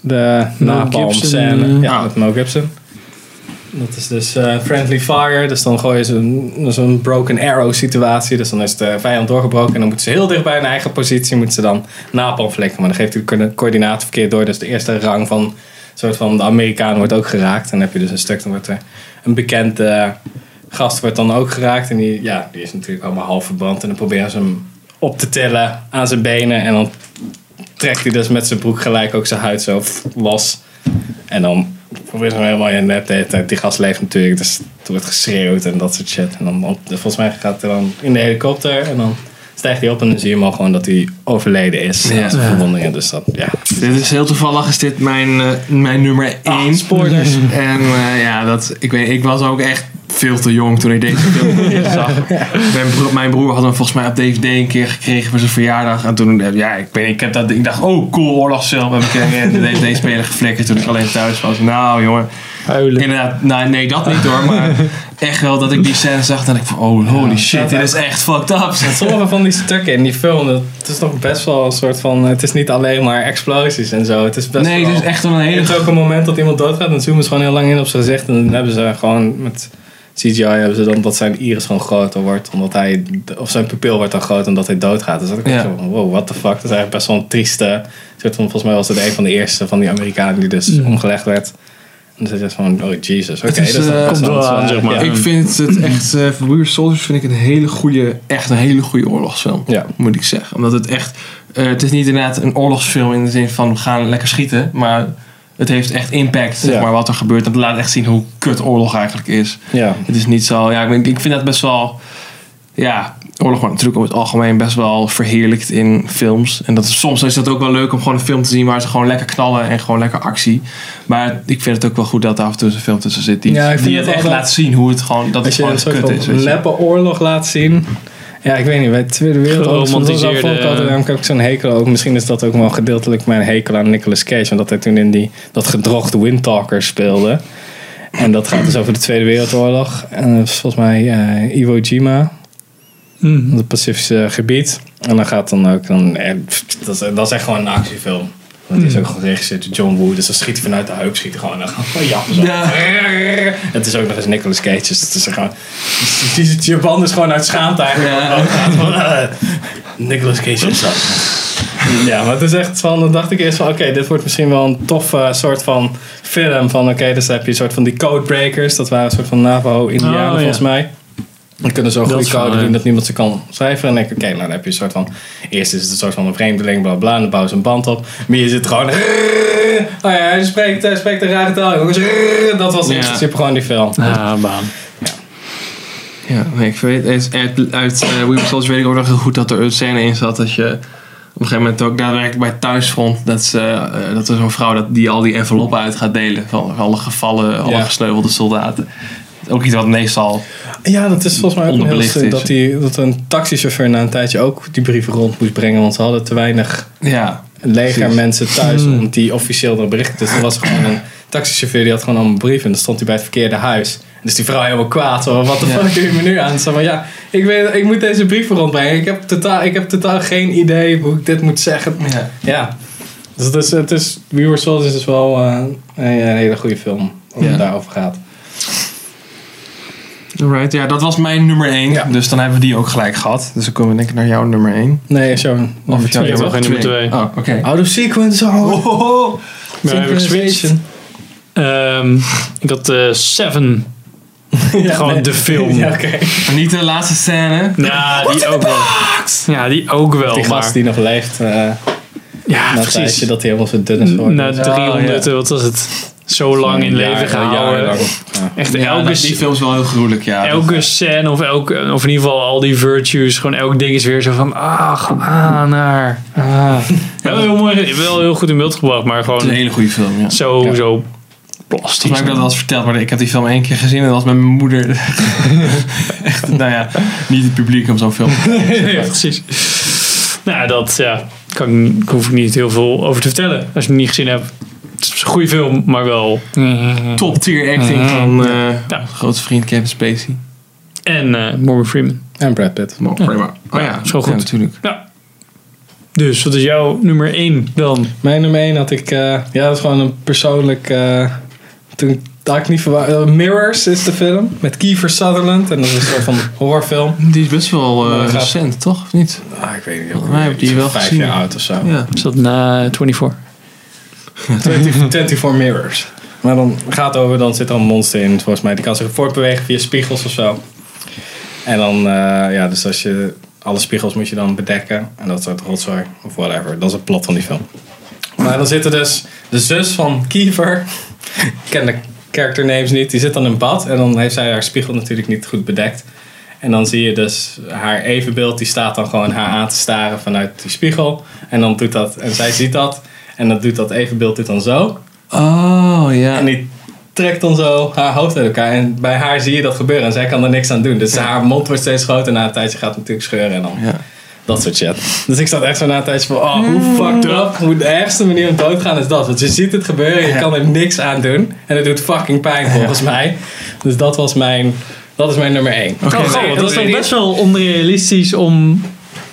Speaker 2: De
Speaker 1: Mel
Speaker 2: napalm
Speaker 1: Gibson,
Speaker 2: scène.
Speaker 1: eh,
Speaker 2: Ja,
Speaker 3: ah.
Speaker 2: met Mel Gibson. Dat is dus eh, Friendly Fire. Dus dan gooien ze een, dat is een broken arrow situatie. Dus dan is de vijand doorgebroken. En dan moeten ze heel dicht bij hun eigen positie moeten ze dan napalm flikken. Maar dan geeft hij de coördina- coördinaten verkeerd door. Dus de eerste rang van soort van de Amerikaan wordt ook geraakt. En dan heb je dus een stuk, dan wordt er een bekend eh, gast wordt dan ook geraakt. En die, ja, die is natuurlijk allemaal half verbrand. En dan proberen ze hem op te tillen aan zijn benen. En dan trekt hij dus met zijn broek gelijk ook zijn huid zo pff, los. En dan probeert ze hem helemaal in net. de hele tijd. Die gast leeft natuurlijk, dus er wordt geschreeuwd en dat soort shit. En dan, op- volgens mij gaat hij dan in de helikopter. En dan stijgt hij op en dan zie je hem al gewoon dat hij overleden is.
Speaker 3: Ja.
Speaker 2: Ja. Verwondingen, dus dat, ja.
Speaker 3: Dit is heel toevallig is dit mijn, eh, mijn nummer 1.
Speaker 2: Ah, spoilers.
Speaker 3: En eh, ja, dat, ik, weet, ik was ook echt veel te jong toen ik deze film zag. Mijn broer, mijn broer had hem volgens mij op DVD een keer gekregen voor zijn verjaardag. En toen, eh, ja, ik, weet, niet, ik, heb dat, ik dacht, oh cool, oorlogsfilm. Heb ik eh, in de DVD-speler geflikkerd toen ik alleen thuis was. Nou jongen,
Speaker 1: Huilen.
Speaker 3: inderdaad, nou, nee dat niet hoor. Maar echt wel dat ik die scène zag, dat ik van, oh holy
Speaker 2: Ja,
Speaker 3: shit,
Speaker 2: dat
Speaker 3: dit
Speaker 2: ook.
Speaker 3: is echt fucked up.
Speaker 2: Sommige van die stukken in die film, dat het is toch best wel een soort van. Het is niet alleen maar explosies en zo. Het is best
Speaker 3: Nee,
Speaker 2: wel.
Speaker 3: dit is echt wel een
Speaker 2: Er
Speaker 3: hele
Speaker 2: is ook een moment dat iemand doodgaat, dan zoomen ze gewoon heel lang in op zijn gezicht. En dan hebben ze gewoon met CGI hebben ze dan dat zijn iris gewoon groter wordt. Omdat hij, of zijn pupil wordt dan groot omdat hij doodgaat. Dus dat ik
Speaker 3: Ja.
Speaker 2: ja. zo van, wow, what the fuck. Dat is eigenlijk best wel een trieste soort van, volgens mij was het een van de eerste van die Amerikanen die dus omgelegd werd. En dan zit je van, oh Jesus, oké.
Speaker 3: Het is,
Speaker 2: dat is dan
Speaker 3: eh,
Speaker 2: best wel
Speaker 1: komt wel,
Speaker 2: een soort-
Speaker 1: zeg maar.
Speaker 2: ja.
Speaker 3: Ik vind het echt, eh voor Winter Soldiers vind ik een hele goede, echt een hele goede oorlogsfilm.
Speaker 2: Ja.
Speaker 3: Moet ik zeggen. Omdat het echt, eh, het is niet inderdaad een oorlogsfilm in de zin van we gaan lekker schieten. Maar het heeft echt impact, zeg
Speaker 2: Ja.
Speaker 3: maar, wat er gebeurt. En het laat echt zien hoe kut oorlog eigenlijk is.
Speaker 2: ja.
Speaker 3: Het is niet zo, ja, ik, ben- ik vind dat best wel, ja, oorlog wordt natuurlijk over het algemeen best wel verheerlijkt in films. En dat is, soms is dat ook wel leuk om gewoon een film te zien waar ze gewoon lekker knallen en gewoon lekker actie. Maar ik vind het ook wel goed dat er af en toe een film tussen zit die,
Speaker 2: Ja, ik vind
Speaker 3: die
Speaker 2: het
Speaker 3: het echt
Speaker 2: wel-
Speaker 3: laat zien hoe het gewoon, dat het
Speaker 2: Als je
Speaker 3: gewoon
Speaker 2: een
Speaker 3: echt
Speaker 2: soort
Speaker 3: kut is.
Speaker 2: van
Speaker 3: Weet je.
Speaker 2: leppe oorlog laat zien. Ja, ik weet niet. Bij de Tweede Wereldoorlog soms was dat
Speaker 1: Geromantiseerde-
Speaker 2: vond ik altijd, daarom heb ik zo'n hekel ook. Misschien is dat ook wel gedeeltelijk mijn hekel aan Nicolas Cage. Omdat hij toen in die, dat gedrochte Windtalker speelde. En dat gaat dus over de Tweede Wereldoorlog. En dat is volgens mij eh, Iwo Jima
Speaker 1: Mm.
Speaker 2: op het Pacifische gebied. En dan gaat dan ook... Dan, eh, pff, dat, is, dat is echt gewoon een actiefilm. Want die is ook gewoon geregisseerd door John Woo. Dus dan schiet hij vanuit de heup. Schiet hij gewoon en dan gaat hij jappen zo.
Speaker 3: Ja.
Speaker 2: Het is ook nog eens Nicolas Cage. Dus het is gewoon... Die Japan is gewoon uit schaamte eigenlijk.
Speaker 3: Ja.
Speaker 2: Ja. Van, eh, Nicolas Cage is dat. Ja, maar het is echt van... Dan dacht ik eerst van... Oké, dit wordt misschien wel een toffe soort van film. Van oké, dus dan heb je een soort van die codebreakers. Dat waren een soort van NAVO-Indianen
Speaker 1: Oh, ja.
Speaker 2: volgens mij. Dan kunnen zo
Speaker 1: Dat
Speaker 2: goed
Speaker 1: is van,
Speaker 2: code
Speaker 1: ja.
Speaker 2: doen dat niemand ze kan cijferen. En dan denk ik, oké, nou dan heb je een soort van... Eerst is het een soort van een vreemdeling, bla bla, en dan bouwen ze een band op. Maar je zit gewoon... Oh ja, hij spreekt, hij spreekt een rare taal. jongens. Dat was in
Speaker 3: Ja.
Speaker 2: principe gewoon die film.
Speaker 1: Ah, baan.
Speaker 3: Ja, nee, ik weet uit, uit, uit eh, We Were Soldiers weet ik ook nog heel goed dat er een scène in zat dat je op een gegeven moment ook daadwerkelijk bij thuis vond dat, ze, eh, dat er zo'n vrouw dat, die al die enveloppen uit gaat delen van alle gevallen, alle
Speaker 2: Ja.
Speaker 3: gesneuvelde soldaten. Ook iets wat meestal
Speaker 2: Ja, dat is volgens mij ook een heel
Speaker 3: Onderbelicht
Speaker 2: stuk.
Speaker 3: is.
Speaker 2: Dat, die, dat een taxichauffeur na een tijdje ook die brieven rond moest brengen. Want ze hadden te weinig
Speaker 3: ja,
Speaker 2: legermensen thuis om die officieel naar berichten. Dus er was gewoon een taxichauffeur die had gewoon allemaal brieven. En dan stond hij bij het verkeerde huis. Dus die vrouw helemaal kwaad. Hoor. Wat de
Speaker 3: Ja.
Speaker 2: fuck doe je me nu aan? Zo van ja, ik, weet, ik moet deze brieven rondbrengen. Ik heb, totaal, ik heb totaal geen idee hoe ik dit moet zeggen.
Speaker 3: ja.
Speaker 2: Ja. Dus het is, het is, We Were Soldiers is wel eh, een, een hele goede film. Als
Speaker 3: Ja.
Speaker 2: het daarover gaat.
Speaker 3: Alright, ja, dat was mijn nummer 1.
Speaker 2: Ja.
Speaker 3: Dus dan hebben we die ook gelijk gehad. Dus dan komen we denk ik naar jouw nummer 1.
Speaker 2: Nee, zo.
Speaker 3: Of jouw
Speaker 1: toch? Nummer twee.
Speaker 3: Oh, oké.
Speaker 2: Out of sequence. Oh.
Speaker 3: Oh.
Speaker 1: We hebben geswitcht. Ehm, ik had eh, Seven. Gewoon de film.
Speaker 2: Ja, oké.
Speaker 3: Maar Niet de laatste scène.
Speaker 1: Ja, die ook wel. Ja, die ook wel.
Speaker 2: Die
Speaker 1: maar,
Speaker 2: gast die nog leeft. eh na
Speaker 3: Ah,
Speaker 1: ja,
Speaker 2: een
Speaker 1: precies.
Speaker 2: tijdje dat hij helemaal zo dun is geworden.
Speaker 1: Na
Speaker 3: nou,
Speaker 2: Dus
Speaker 1: 300, wat was het? Zo lang in
Speaker 2: een jaar-
Speaker 1: leven
Speaker 2: een jaar
Speaker 1: gehouden.
Speaker 2: lang. Ja.
Speaker 1: Echt
Speaker 3: Ja,
Speaker 1: elke,
Speaker 3: nou, die film is wel heel gruwelijk, ja.
Speaker 1: elke scène of, elke, of in ieder geval al die virtues. Gewoon elk ding is weer zo van, ah, ga aan naar. Ah. Wel, heel mooi, wel heel goed in beeld gebracht, maar
Speaker 3: Dat is een
Speaker 1: gewoon
Speaker 3: hele goede film, ja.
Speaker 1: zo,
Speaker 2: Ja.
Speaker 1: zo
Speaker 3: Volgens mij
Speaker 1: plastisch.
Speaker 3: heb ik dat wel eens verteld, maar ik heb die film één keer gezien en dat was met mijn moeder. Echt, nou ja, niet het publiek om zo'n film.
Speaker 1: ja, precies. Nou, ja, dat ja, kan, ik niet- hoef ik niet heel veel over te vertellen. Als je het niet gezien hebt. Het is een goede film, maar wel.
Speaker 3: Top tier acting
Speaker 1: Mhm.
Speaker 3: van eh
Speaker 1: Ja.
Speaker 3: grote vriend Kevin Spacey.
Speaker 1: En eh, Morgan Freeman.
Speaker 2: En Brad Pitt.
Speaker 3: Maar, maar- oh ja,
Speaker 1: zo goed.
Speaker 3: Ja, natuurlijk.
Speaker 1: Dus wat is jouw nummer 1 dan?
Speaker 2: Mijn nummer 1 had ik... eh, ja, dat is gewoon een persoonlijk... eh, toen had ik niet verwacht... eh, Mirrors is de film. Met Kiefer Sutherland. En dat is een soort van horrorfilm.
Speaker 3: Die is best wel eh,
Speaker 2: Maar gaat-
Speaker 3: recent, toch? Of niet?
Speaker 2: Ah, ik weet niet.
Speaker 3: Volgens mij heb ik die wel
Speaker 2: Vijf
Speaker 3: gezien.
Speaker 2: jaar oud of zo.
Speaker 3: Ja.
Speaker 1: Is dat na 24?
Speaker 2: 20 24 Mirrors. Maar dan gaat het over, dan zit er een monster in, volgens mij. Die kan zich voortbewegen via spiegels of zo. En dan, eh, ja, dus als je, alle spiegels moet je dan bedekken. En dat soort rotzooi, of whatever. Dat is het plot van die film. Maar dan zit er dus de zus van Kiefer. Ik ken de character names niet. Die zit dan in bad en dan heeft zij haar spiegel natuurlijk niet goed bedekt. En dan zie je dus haar evenbeeld, die staat dan gewoon haar aan te staren vanuit die spiegel. En dan doet dat, en zij ziet dat. En dat doet dat evenbeeld dit dan zo.
Speaker 3: Oh, ja.
Speaker 2: En die trekt dan zo haar hoofd uit elkaar. En bij haar zie je dat gebeuren en zij kan er niks aan doen. Dus haar mond wordt steeds groter en na een tijdje gaat het natuurlijk scheuren en dan...
Speaker 3: Ja.
Speaker 2: Dat soort shit. Dus ik zat echt zo na een tijdje van, oh, hoe
Speaker 3: Mm.
Speaker 2: fucked up. Hoe de ergste manier om dood te gaan is dat. Want je ziet het gebeuren, je kan er niks aan doen. En het doet fucking pijn volgens mij. Dus dat was mijn, dat is mijn nummer 1.
Speaker 1: Oh,
Speaker 3: Oké,
Speaker 1: goh,
Speaker 3: nee,
Speaker 1: dat is
Speaker 3: weet
Speaker 1: dan
Speaker 3: ik.
Speaker 1: best wel onrealistisch om...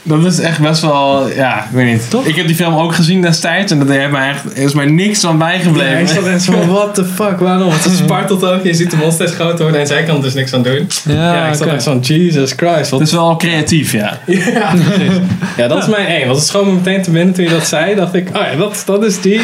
Speaker 3: Dat is echt best wel, ja, ik weet niet.
Speaker 1: Toch?
Speaker 3: Ik heb die film ook gezien destijds en dat heeft mij echt, er is mij niks van
Speaker 2: Ja, ik
Speaker 3: bijgebleven.
Speaker 2: zat echt zo van, what the fuck, waarom? Want ze spartelt ook, je ziet de mond steeds groter worden en zij kan er dus niks aan doen.
Speaker 1: Ja,
Speaker 2: ja, ik zat
Speaker 1: Ah, oké.
Speaker 2: echt zo van, Jesus Christ.
Speaker 3: dat
Speaker 2: Wat...
Speaker 3: is wel creatief, ja.
Speaker 2: Ja, precies. Ja, dat is mijn één. Want het schoot me meteen te binnen toen je dat zei. dacht ik, oh ja, dat, dat is die.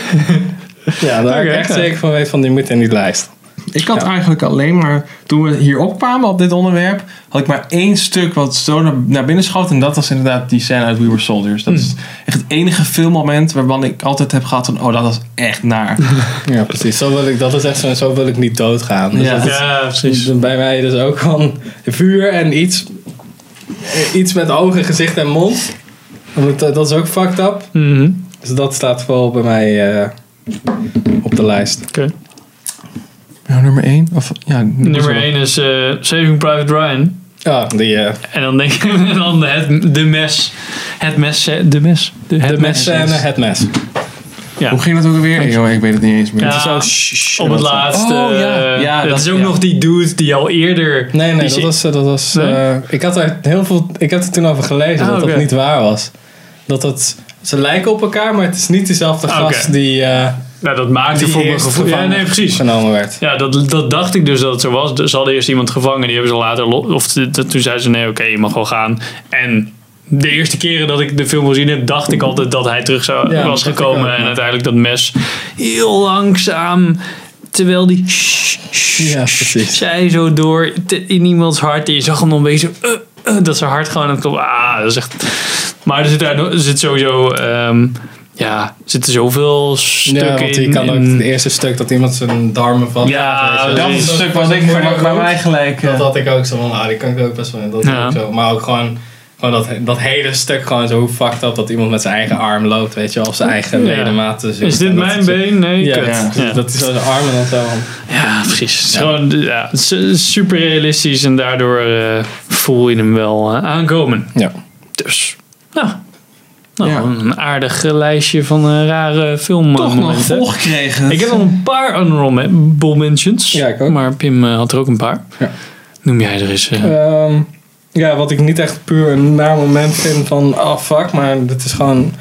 Speaker 2: Ja, daar ben ik
Speaker 1: Oké,
Speaker 2: echt
Speaker 1: oké.
Speaker 2: zeker van weet van, die moet in die lijst.
Speaker 3: Ik had eigenlijk alleen maar, toen we hier opkwamen op dit onderwerp, had ik maar één stuk wat zo naar, naar binnen schoot. En dat was inderdaad die scène uit We Were Soldiers. Dat is echt het enige filmmoment waarvan ik altijd heb gehad van, oh, dat was echt naar.
Speaker 2: Ja, precies. Zo wil ik, dat is echt zo, zo wil ik niet doodgaan. Dus
Speaker 3: Ja.
Speaker 2: dat is-
Speaker 1: Ja, precies.
Speaker 2: Bij mij dus ook van vuur en iets, eh, iets met ogen, gezicht en mond. Want eh, Dat, dat is ook fucked up.
Speaker 1: Mhm,
Speaker 2: Dus dat staat vooral bij mij eh, op de lijst.
Speaker 1: Oké.
Speaker 3: Ja, Nou, nummer één? Of, ja, dus
Speaker 1: Nummer 1 is eh, Saving Private Ryan.
Speaker 2: Ja, die eh,
Speaker 1: En dan denk ik en dan het, de mes. Het mes. eh, De mes. De, het
Speaker 2: de mes eh,
Speaker 1: mes. dus.
Speaker 2: scène, het mes.
Speaker 1: Ja.
Speaker 3: Hoe ging dat ook alweer? Joh, ik weet het niet eens meer.
Speaker 1: Ja,
Speaker 2: Zo, shh, shh,
Speaker 1: op het
Speaker 2: wat-
Speaker 1: laatste.
Speaker 3: Oh, ja.
Speaker 1: eh,
Speaker 3: Ja,
Speaker 1: het
Speaker 3: dat-
Speaker 1: is ook
Speaker 3: ja.
Speaker 1: nog die dude die al eerder.
Speaker 2: Nee, nee,
Speaker 1: die
Speaker 2: dat
Speaker 1: zi-
Speaker 2: was... eh, Dat was
Speaker 1: Nee?
Speaker 2: eh, ik, had er heel veel, ik had er toen over gelezen
Speaker 1: Ah,
Speaker 2: dat
Speaker 1: oké.
Speaker 2: dat niet waar was. Dat dat... Ze lijken op elkaar, maar het is niet dezelfde
Speaker 1: Ah,
Speaker 2: gast
Speaker 1: oké.
Speaker 2: die, eh
Speaker 1: Nou, dat maakte
Speaker 2: die
Speaker 1: voor mijn
Speaker 2: eerst
Speaker 1: gevoel. Ja,
Speaker 2: gevangen
Speaker 1: nee, precies.
Speaker 2: genomen werd.
Speaker 1: Ja, dat, dat dacht ik dus dat het zo was. Dus Ze hadden eerst iemand gevangen, die hebben ze later. lo- Of de- de- toen zeiden ze: nee, oké, je mag wel gaan. En de eerste keren dat ik de film gezien heb, dacht ik altijd dat hij terug zou,
Speaker 2: Ja,
Speaker 1: was
Speaker 2: dat dacht
Speaker 1: gekomen.
Speaker 2: ik ook,
Speaker 1: en
Speaker 2: ja.
Speaker 1: uiteindelijk dat mes heel langzaam. Terwijl die
Speaker 2: Ja, precies.
Speaker 1: zij zo door te- in iemands hart. En je zag hem dan een beetje zo, eh, eh, dat zijn hart gewoon aan het kloppen. Ah, dat is echt... Maar er zit, daar, no- er zit sowieso... ehm, ja, er zitten zoveel stukken
Speaker 2: ja, want die
Speaker 1: in.
Speaker 2: kan ook
Speaker 1: in-
Speaker 2: het eerste stuk dat iemand zijn darmen van.
Speaker 1: Ja,
Speaker 2: weet je, dus
Speaker 3: Dat
Speaker 1: precies.
Speaker 3: is het stuk wat
Speaker 2: was
Speaker 3: ik
Speaker 2: ook
Speaker 3: bij
Speaker 2: moeilijk
Speaker 3: bij
Speaker 2: ook.
Speaker 3: mij gelijk... eh,
Speaker 2: Dat had ik ook zo van, ah, die kan ik ook best wel in. Dat is
Speaker 1: Ja.
Speaker 2: ook zo. Maar ook gewoon, gewoon dat, dat hele stuk gewoon zo hoe fucked up dat iemand met zijn eigen arm loopt, weet je, wel, of zijn eigen
Speaker 1: Ja.
Speaker 2: ledematen. zoekt.
Speaker 1: Is dit
Speaker 2: En dat
Speaker 1: mijn
Speaker 2: is-
Speaker 1: been? Nee,
Speaker 2: Ja,
Speaker 1: kut.
Speaker 2: ja.
Speaker 1: Ja.
Speaker 2: dat is zo de armen dan zo.
Speaker 1: Ja, precies. Het is gewoon, ja, het is super realistisch en daardoor eh, voel je hem wel eh, aankomen.
Speaker 2: Ja.
Speaker 1: Dus, nou, nou
Speaker 3: Ja.
Speaker 1: een aardig eh, lijstje van eh, rare
Speaker 3: toch nog
Speaker 1: filmmomenten.
Speaker 3: volgekregen.
Speaker 1: Ik heb al een paar honorable mentions.
Speaker 2: Ja, ik ook.
Speaker 1: Maar Pim eh, had er ook een paar.
Speaker 2: Ja.
Speaker 1: Noem jij er eens. eh,
Speaker 2: Ehm, ja, wat ik niet echt puur een naar moment vind van, oh fuck, maar dit is gewoon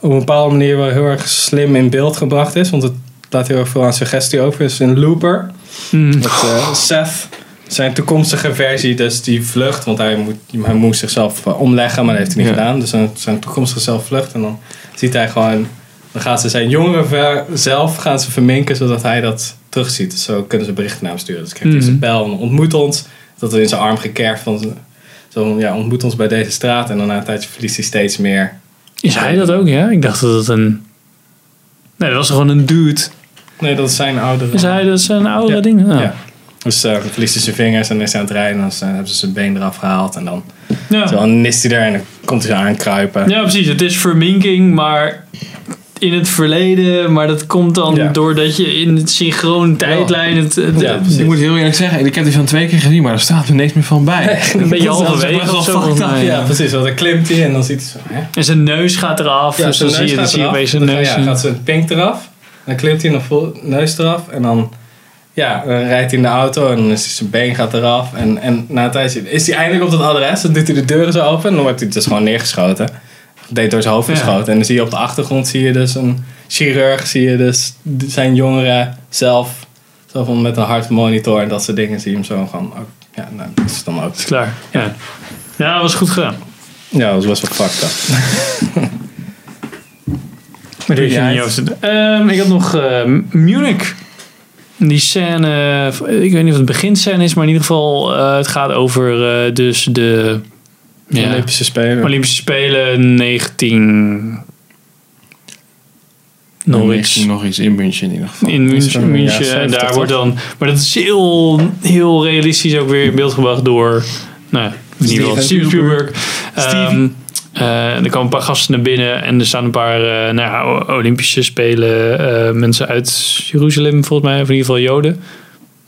Speaker 2: op een bepaalde manier wel heel erg slim in beeld gebracht is, want het laat heel erg veel aan suggestie over, is in Looper.
Speaker 1: mm,
Speaker 2: Dat eh, Seth, zijn toekomstige versie, dus die vlucht. Want hij, moet, hij moest zichzelf eh, omleggen, maar dat heeft hij niet
Speaker 3: Ja.
Speaker 2: gedaan. Dus zijn, zijn toekomstige zelf vlucht. En dan ziet hij gewoon... Dan gaan ze zijn jongere ver- zelf gaan ze verminken, zodat hij dat terugziet. Dus zo kunnen ze berichten naar hem sturen. Dus krijgt hij
Speaker 1: Mhm.
Speaker 2: zijn bel en ontmoet ons. Dat er in zijn arm gekerfd van... z- Zo, ja, ontmoet ons bij deze straat. En dan na een tijdje verliest hij steeds meer.
Speaker 1: is hij dat ook, ja? Ik dacht dat het een... Nee, dat was gewoon een dude.
Speaker 2: Nee, dat is zijn oudere...
Speaker 1: Is hij, dat is een oude
Speaker 2: Ja.
Speaker 1: ding? Oh. Ja.
Speaker 2: Ja. Dus eh, dan verliest hij zijn vingers en dan is hij aan het rijden. En dan zijn- hebben ze zijn been eraf gehaald. En dan Zo,
Speaker 1: Ja.
Speaker 2: dan nist hij er en dan komt hij zo aankruipen.
Speaker 1: ja, precies. Het is verminking, maar in het verleden. Maar dat komt dan
Speaker 2: Ja.
Speaker 1: doordat je in het synchroon tijdlijn... Het, het-
Speaker 2: Ja,
Speaker 3: Ik moet heel eerlijk zeggen, ik heb die van twee keer gezien, maar er staat er niks meer van bij.
Speaker 1: een beetje
Speaker 3: Dat is
Speaker 1: halverwege
Speaker 3: wel
Speaker 1: of zo.
Speaker 3: fucked
Speaker 1: volgens
Speaker 3: up,
Speaker 1: mij.
Speaker 2: Ja, precies. Want dan klimt hij en dan ziet hij zo. Hè?
Speaker 1: En zijn neus gaat eraf. dus dan
Speaker 2: zijn
Speaker 1: zie je, dan
Speaker 2: gaat
Speaker 1: zie je
Speaker 2: eraf.
Speaker 1: opeens zijn
Speaker 2: Dan
Speaker 1: neus.
Speaker 2: ja, gaat zijn pink eraf. Dan klimt hij nog vol neus eraf. En dan, ja, dan rijdt hij in de auto en dan is hij, zijn been gaat eraf. En, en na een tijdje is hij eindelijk op dat adres. Dan doet hij de deuren zo open en dan wordt hij dus gewoon neergeschoten. Deed door zijn hoofd
Speaker 1: Ja.
Speaker 2: geschoten. En dan zie je op de achtergrond zie je dus een chirurg. Zie je dus d- zijn jongeren zelf. Zo van met een hartmonitor en dat soort dingen. Zie je hem zo gewoon. ook- Ja, nou, dat is dan ook.
Speaker 1: is klaar. Ja. ja, dat was goed gedaan.
Speaker 2: Ja, dat was best wel fucked up.
Speaker 1: Maar die
Speaker 2: Doe jij
Speaker 1: heeft niet over te- Ehm, ik had nog eh, Munich. Die scène, eh, ik weet niet of het beginscène is, maar in ieder geval, eh, het gaat over eh, dus de ja,
Speaker 2: Olympische Spelen.
Speaker 1: Olympische Spelen 19. nog iets.
Speaker 3: Nou, Nog iets in München in ieder geval.
Speaker 1: In
Speaker 2: Ja,
Speaker 1: München, München en
Speaker 2: 70
Speaker 1: daar
Speaker 2: toch?
Speaker 1: wordt dan. Maar dat is heel, heel realistisch ook weer in beeld gebracht door nou ja, in ieder geval
Speaker 2: Steven
Speaker 1: Steven Spielberg.
Speaker 3: Steven.
Speaker 1: Ehm, eh, er komen een paar gasten naar binnen en er staan een paar eh, nou ja, o- Olympische Spelen. eh, mensen uit Jeruzalem, volgens mij, of in ieder geval Joden.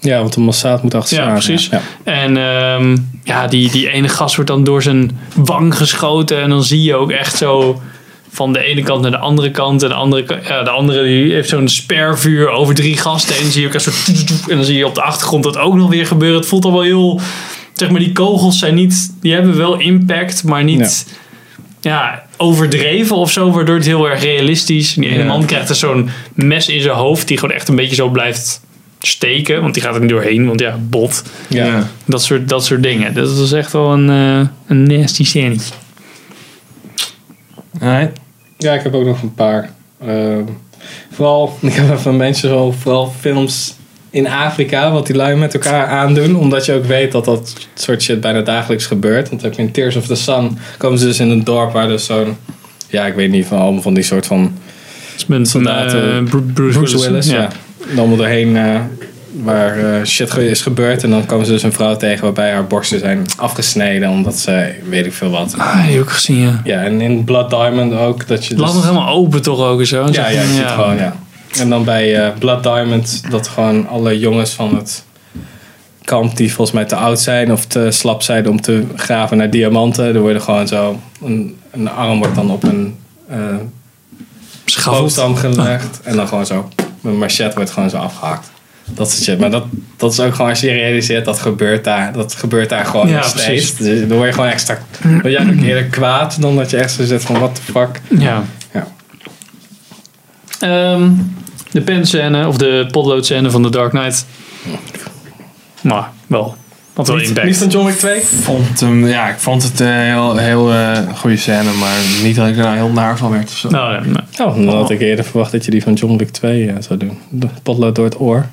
Speaker 2: Ja, want de Mossad moet achter
Speaker 1: Ja,
Speaker 2: staan,
Speaker 1: precies.
Speaker 2: Ja.
Speaker 1: En ehm, ja, die, die ene gast wordt dan door zijn wang geschoten. En dan zie je ook echt zo van de ene kant naar de andere kant. En de andere, ka- ja, de andere die heeft zo'n spervuur over drie gasten. En dan zie je ook echt zo... toet, toet, toet. En dan zie je op de achtergrond dat ook nog weer gebeuren. Het voelt al wel heel... Zeg maar, die kogels zijn niet... Die hebben wel impact, maar niet... Ja, overdreven of zo, waardoor het heel erg realistisch. En die ene
Speaker 2: Ja.
Speaker 1: man krijgt er zo'n mes in zijn hoofd, die gewoon echt een beetje zo blijft steken. Want die gaat er niet doorheen, want ja, bot.
Speaker 2: Ja. Ja.
Speaker 1: Dat soort, dat soort dingen. Dus Dat was echt wel een, eh, een nasty scène.
Speaker 3: Alright.
Speaker 2: ik heb ook nog een paar. Ehm, vooral, ik heb even mensen zo, vooral films in Afrika, wat die lui met elkaar aandoen. Omdat je ook weet dat dat soort shit bijna dagelijks gebeurt. Want heb je in Tears of the Sun, komen ze dus in een dorp waar dus zo'n, ja, ik weet niet, van allemaal van die soort van
Speaker 1: Met
Speaker 2: Soldaten.
Speaker 1: eh, Bru- Bruce,
Speaker 2: Bruce Willis, ja.
Speaker 1: Ja.
Speaker 2: En allemaal doorheen eh, waar eh, shit ge- is gebeurd. En dan komen ze dus een vrouw tegen waarbij haar borsten zijn afgesneden. Omdat ze, weet ik veel wat.
Speaker 1: Ah, die heb ik gezien, ja.
Speaker 2: Ja, en in Blood Diamond ook. Dat je
Speaker 1: Het
Speaker 2: dus,
Speaker 1: lag nog helemaal open toch ook en zo.
Speaker 2: ja, ja, je ziet gewoon, ja. En dan bij eh, Blood Diamond dat gewoon alle jongens van het kamp die volgens mij te oud zijn of te slap zijn om te graven naar diamanten. Er worden gewoon zo, een, een arm wordt dan op een eh
Speaker 1: Schaft.
Speaker 2: boomstam gelegd. En dan gewoon zo. Mijn machette wordt gewoon zo afgehakt. Dat soort shit. Maar dat, dat is ook gewoon als je je realiseert, dat gebeurt daar. Dat gebeurt daar gewoon
Speaker 1: Ja,
Speaker 2: nog steeds.
Speaker 1: precies.
Speaker 2: Dus dan word je gewoon extra. Dan word jij ook eerder kwaad dan dat je echt zo zit van what the fuck.
Speaker 1: Ja.
Speaker 2: Ja.
Speaker 1: Ehm, de penscène, of de potloodscène van The Dark Knight. Maar wel. Had wel impact.
Speaker 2: Niet van John Wick 2?
Speaker 3: Vond hem, ja, ik vond het een heel, heel eh, goede scène, maar niet dat ik er nou heel naar van werd of zo.
Speaker 1: Nou, nee, nee.
Speaker 2: Oh, dan had ik eerder verwacht dat je die van John Wick 2 eh, zou doen. De potlood door het oor.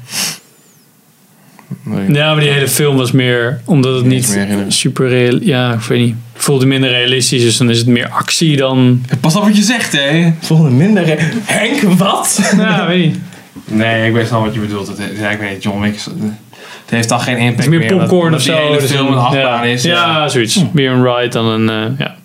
Speaker 3: Nee.
Speaker 1: Ja, maar die hele film was meer omdat het
Speaker 3: Niets
Speaker 1: niet
Speaker 3: meer herinneren.
Speaker 1: super real. Ja, ik weet niet. Voelde minder realistisch, dus dan is het meer actie dan.
Speaker 3: Pas op wat je zegt, hè?
Speaker 2: Volgende minder. hè? Henk, wat?
Speaker 1: Ja, weet niet.
Speaker 3: Nee, ik weet wel wat je bedoelt. Het, ja, ik weet niet, John Wick is- het heeft dan geen impact
Speaker 1: Het is meer popcorn of
Speaker 3: omdat-
Speaker 1: zo.
Speaker 3: omdat die hele
Speaker 1: dus
Speaker 3: film
Speaker 1: dan-
Speaker 3: een achtbaan
Speaker 1: ja.
Speaker 3: is.
Speaker 1: Ja, zoiets. Hm. Meer een ride dan een. eh, ja.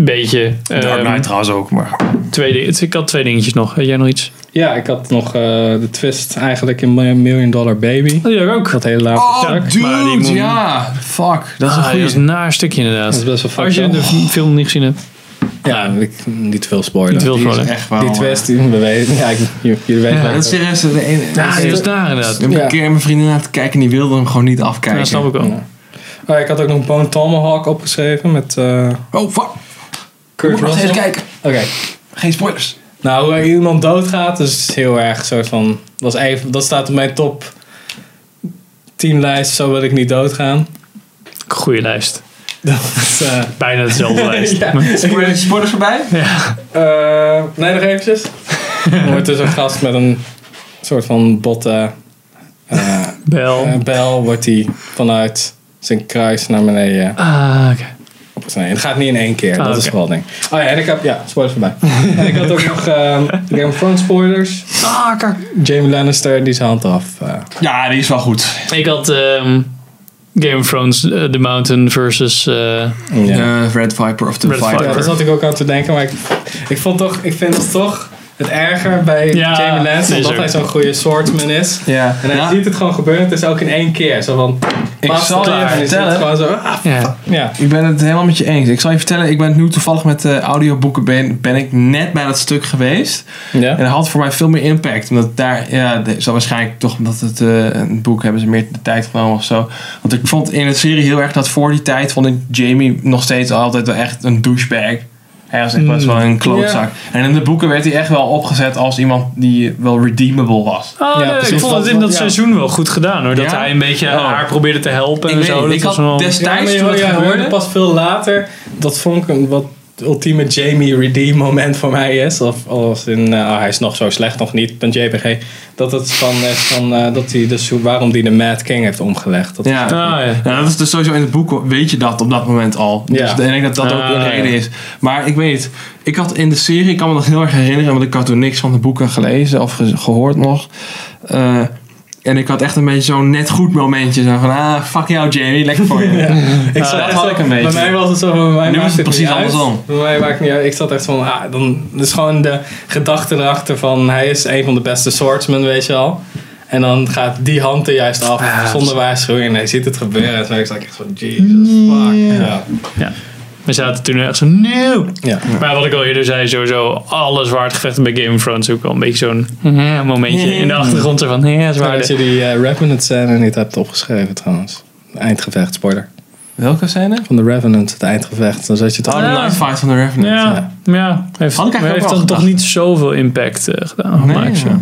Speaker 1: Beetje.
Speaker 3: Dark
Speaker 1: ehm,
Speaker 3: Knight trouwens ook, maar...
Speaker 1: twee dingen. Ik had twee dingetjes nog. Had jij nog iets?
Speaker 2: Ja, ik had nog eh, de twist eigenlijk in Million- Million Dollar Baby.
Speaker 1: Oh, ja, ook.
Speaker 2: Dat hele laatste stuk.
Speaker 3: Oh,
Speaker 1: maar die
Speaker 3: dude,
Speaker 1: moet-
Speaker 3: ja! Fuck, dat
Speaker 1: Ah,
Speaker 3: is een
Speaker 1: dat is
Speaker 3: goede.
Speaker 1: een naar stukje
Speaker 2: Dat is
Speaker 1: inderdaad.
Speaker 2: best wel fucked
Speaker 1: Als je
Speaker 2: up.
Speaker 1: de v- film niet gezien hebt.
Speaker 2: Ja, ik, niet te veel spoilen.
Speaker 1: Niet te veel
Speaker 3: Die is
Speaker 1: spoilen.
Speaker 3: echt wel...
Speaker 2: Die
Speaker 3: eh,
Speaker 2: twist, die, we weten, ja, ik, jullie weten
Speaker 3: Ja,
Speaker 2: wel.
Speaker 3: dat is serieus de ene...
Speaker 1: Ja, die
Speaker 3: ik
Speaker 1: is naar inderdaad.
Speaker 3: heb
Speaker 2: Ja.
Speaker 3: een keer mijn vriendin aan het kijken en die wilde hem gewoon niet
Speaker 1: Ja,
Speaker 3: afkijken.
Speaker 1: dat snap ik wel.
Speaker 2: Oh, ik had ook nog Bone Tomahawk opgeschreven met eh
Speaker 3: Oh, fuck!
Speaker 2: Kurt
Speaker 3: Moet nog
Speaker 2: Russell.
Speaker 3: steeds
Speaker 2: Oké.
Speaker 3: kijken. Geen spoilers.
Speaker 2: Nou, hoe iemand doodgaat is heel erg soort van... Dat, is even, dat staat op mijn top 10 lijst, zo wil ik niet doodgaan.
Speaker 1: Goede lijst.
Speaker 2: Dat is... eh,
Speaker 1: Bijna hetzelfde lijst.
Speaker 2: Ja.
Speaker 1: Maar-
Speaker 3: Spoilers, spoilers voorbij?
Speaker 2: eh, nee, nog eventjes. Er wordt dus een gast met een soort van botte eh,
Speaker 1: Bel.
Speaker 2: eh, bel... wordt hij vanuit zijn kruis naar beneden
Speaker 1: Ah, oké.
Speaker 2: Nee, het gaat niet in één keer.
Speaker 1: Ah,
Speaker 2: dat is
Speaker 1: oké.
Speaker 2: vooral het ding. Oh ja, en ik heb... Ja, spoilers voorbij. en ik had ook nog ehm Game of Thrones spoilers.
Speaker 1: Ah, kak.
Speaker 2: Jamie Lannister, die zijn hand af.
Speaker 3: Oh,
Speaker 2: eh.
Speaker 3: Ja, die is wel goed.
Speaker 1: Ik had ehm, Game of Thrones eh, The Mountain versus eh,
Speaker 2: ja.
Speaker 3: Eh, Red Viper of the
Speaker 1: Red
Speaker 3: Viper.
Speaker 2: ja, daar zat ik ook aan te denken. Maar ik, ik, vond toch, ik vind het toch het erger bij
Speaker 1: Ja,
Speaker 2: Jamie Lannister.
Speaker 1: is
Speaker 2: Omdat
Speaker 1: ook.
Speaker 2: hij zo'n goede swordsman is.
Speaker 3: Ja.
Speaker 2: En hij
Speaker 3: Ja.
Speaker 2: ziet het gewoon gebeuren. Het is ook in één keer. Zo van...
Speaker 3: Ik
Speaker 2: basta,
Speaker 3: zal je
Speaker 2: en hij ziet
Speaker 3: vertellen.
Speaker 2: het Gewoon zo, ah,
Speaker 1: ja.
Speaker 2: ja.
Speaker 3: Ik ben het helemaal met je eens. Ik zal je vertellen, ik ben nu toevallig met de audioboeken ben, ben ik net bij dat stuk geweest. En
Speaker 2: Ja.
Speaker 3: dat had voor mij veel meer impact. Omdat daar, ja, de- zo waarschijnlijk toch omdat het eh, een boek hebben ze meer de tijd genomen of zo. Want ik vond in de serie heel erg dat voor die tijd vond ik Jamie nog steeds altijd wel echt een douchebag. Hij was echt best wel een klootzak. En in de boeken werd hij echt wel opgezet als iemand die wel redeemable was.
Speaker 1: Oh,
Speaker 2: Ja,
Speaker 1: nee, ik
Speaker 2: precies.
Speaker 1: vond het in dat
Speaker 2: Ja.
Speaker 1: seizoen wel goed gedaan hoor. Dat
Speaker 3: Ja?
Speaker 1: hij een beetje
Speaker 3: Oh.
Speaker 1: haar probeerde te helpen en
Speaker 3: Ik weet
Speaker 1: zo.
Speaker 3: niet,
Speaker 1: Dat
Speaker 3: ik
Speaker 1: was
Speaker 3: had
Speaker 1: wel...
Speaker 3: des-
Speaker 2: Ja, maar
Speaker 3: Tijdens
Speaker 2: je
Speaker 3: toen dat
Speaker 2: hoorde- je hoorde
Speaker 3: gebeurde-
Speaker 2: pas veel later. Dat vond ik een wat ultieme Jamie redeem moment voor mij is. Of als in, eh, ah, hij is nog zo slecht, nog niet, punt JPG. Dat het van, is van eh, dat hij dus, hoe- waarom hij de Mad King heeft omgelegd. Dat,
Speaker 3: Ja.
Speaker 1: Ah, ja.
Speaker 3: Ja, dat is dus sowieso in het boek, weet je dat op dat moment al. Dus
Speaker 2: Ja.
Speaker 3: ik denk dat dat ook
Speaker 1: Ah,
Speaker 3: een
Speaker 1: ja.
Speaker 3: reden is. Maar ik weet, ik had in de serie, ik kan me nog heel erg herinneren, want ik had toen niks van de boeken gelezen of ge- gehoord nog. Eh, En ik had echt een beetje zo'n net goed momentje. Zo van, ah, fuck jou Jamie, lekker voor je.
Speaker 2: Ik
Speaker 3: Ah,
Speaker 2: zat
Speaker 3: dat
Speaker 2: echt
Speaker 3: had
Speaker 2: zo-
Speaker 3: ik een beetje.
Speaker 2: Bij mij was het zo van, bij mij
Speaker 3: Nu
Speaker 2: maakt
Speaker 3: is het
Speaker 2: niet
Speaker 3: precies
Speaker 2: uit.
Speaker 3: andersom.
Speaker 2: Bij mij maakt het niet uit. Ik zat echt van, ah, dan dus gewoon de gedachte erachter van, hij is een van de beste swordsmen, weet je al. En dan gaat die hand er juist af,
Speaker 1: Ah,
Speaker 2: zonder waarschuwing. En hij ziet het gebeuren. En toen was ik echt van, Jesus fuck. Ja.
Speaker 1: We zaten toen echt zo, nieuw.
Speaker 2: Ja.
Speaker 1: Maar wat ik al eerder zei, sowieso alle zwaardgevechten bij Game of Thrones ook wel een beetje zo'n eh, momentje in de achtergrond. Zo van, eh,
Speaker 2: Maar dat
Speaker 1: zwaarden.
Speaker 2: je die eh, Revenant scène niet hebt opgeschreven trouwens. Eindgevecht, spoiler.
Speaker 3: Welke scène?
Speaker 2: Van de Revenant, het eindgevecht. Dan zat je
Speaker 3: Oh,
Speaker 2: toch...
Speaker 3: the Night Fight van the Revenant.
Speaker 1: Ja, ja, heeft,
Speaker 3: Had
Speaker 1: maar
Speaker 3: ik eigenlijk ook
Speaker 1: heeft
Speaker 3: wel
Speaker 1: dan
Speaker 3: gedacht.
Speaker 1: toch niet zoveel impact eh, gedaan.
Speaker 3: Nee,
Speaker 1: gemaakt, zo.
Speaker 3: ja.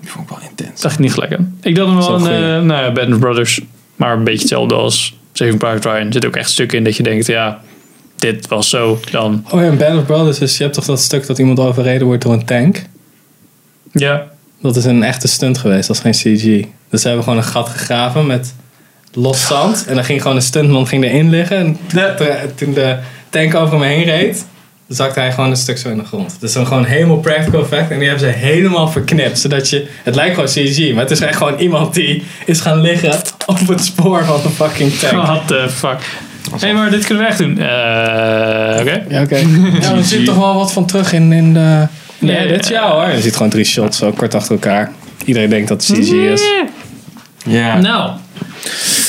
Speaker 3: Die vond ik wel intens.
Speaker 1: dacht ik niet gelijk aan. Ik dacht hem
Speaker 2: Zo'n
Speaker 1: wel aan
Speaker 2: goeie.
Speaker 1: eh nou ja, Band of Brothers. Maar een beetje hetzelfde als Saving Private Ryan. Er zit ook echt stukken in dat je denkt, ja, dit was zo dan.
Speaker 2: Oh ja, in Band of Brothers, dus je hebt toch dat stuk dat iemand overreden wordt door een tank?
Speaker 1: Ja,
Speaker 2: Dat is een echte stunt geweest, dat is geen CG. Dus ze hebben gewoon een gat gegraven met los zand. En dan ging gewoon een stuntman ging erin liggen. En ter- toen de tank over hem heen reed, zakte hij gewoon een stuk zo in de grond. Dus dan gewoon helemaal practical effect. En die hebben ze helemaal verknipt. Zodat je, het lijkt gewoon CG, maar het is echt gewoon iemand die is gaan liggen op het spoor van een fucking tank.
Speaker 1: what the fuck. Hé, hey, maar dit kunnen we echt doen. Eh, Oké.
Speaker 2: Ja, oké. Ja, er zit toch wel wat van terug in, in de...
Speaker 1: Ja,
Speaker 2: Nee, dit ja hoor. Je ziet gewoon drie shots zo kort achter elkaar. Iedereen denkt dat het CG is.
Speaker 3: Ja.
Speaker 1: Nou,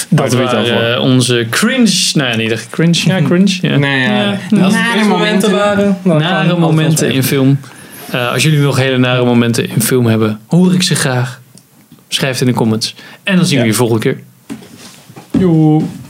Speaker 1: dat
Speaker 2: er iets
Speaker 1: waren eh, onze cringe. Nou ja, niet echt cringe. Ja, cringe. Ja.
Speaker 3: Nee, ja.
Speaker 2: Als er
Speaker 3: Nare
Speaker 2: cringe
Speaker 3: momenten.
Speaker 2: waren. dan gaan we
Speaker 1: Nare
Speaker 2: altijd
Speaker 1: momenten
Speaker 2: even-
Speaker 1: in film. Eh, als jullie nog hele nare momenten in film hebben, hoor ik ze graag. Schrijf het in de comments. En dan zien we
Speaker 2: Ja.
Speaker 1: je volgende keer.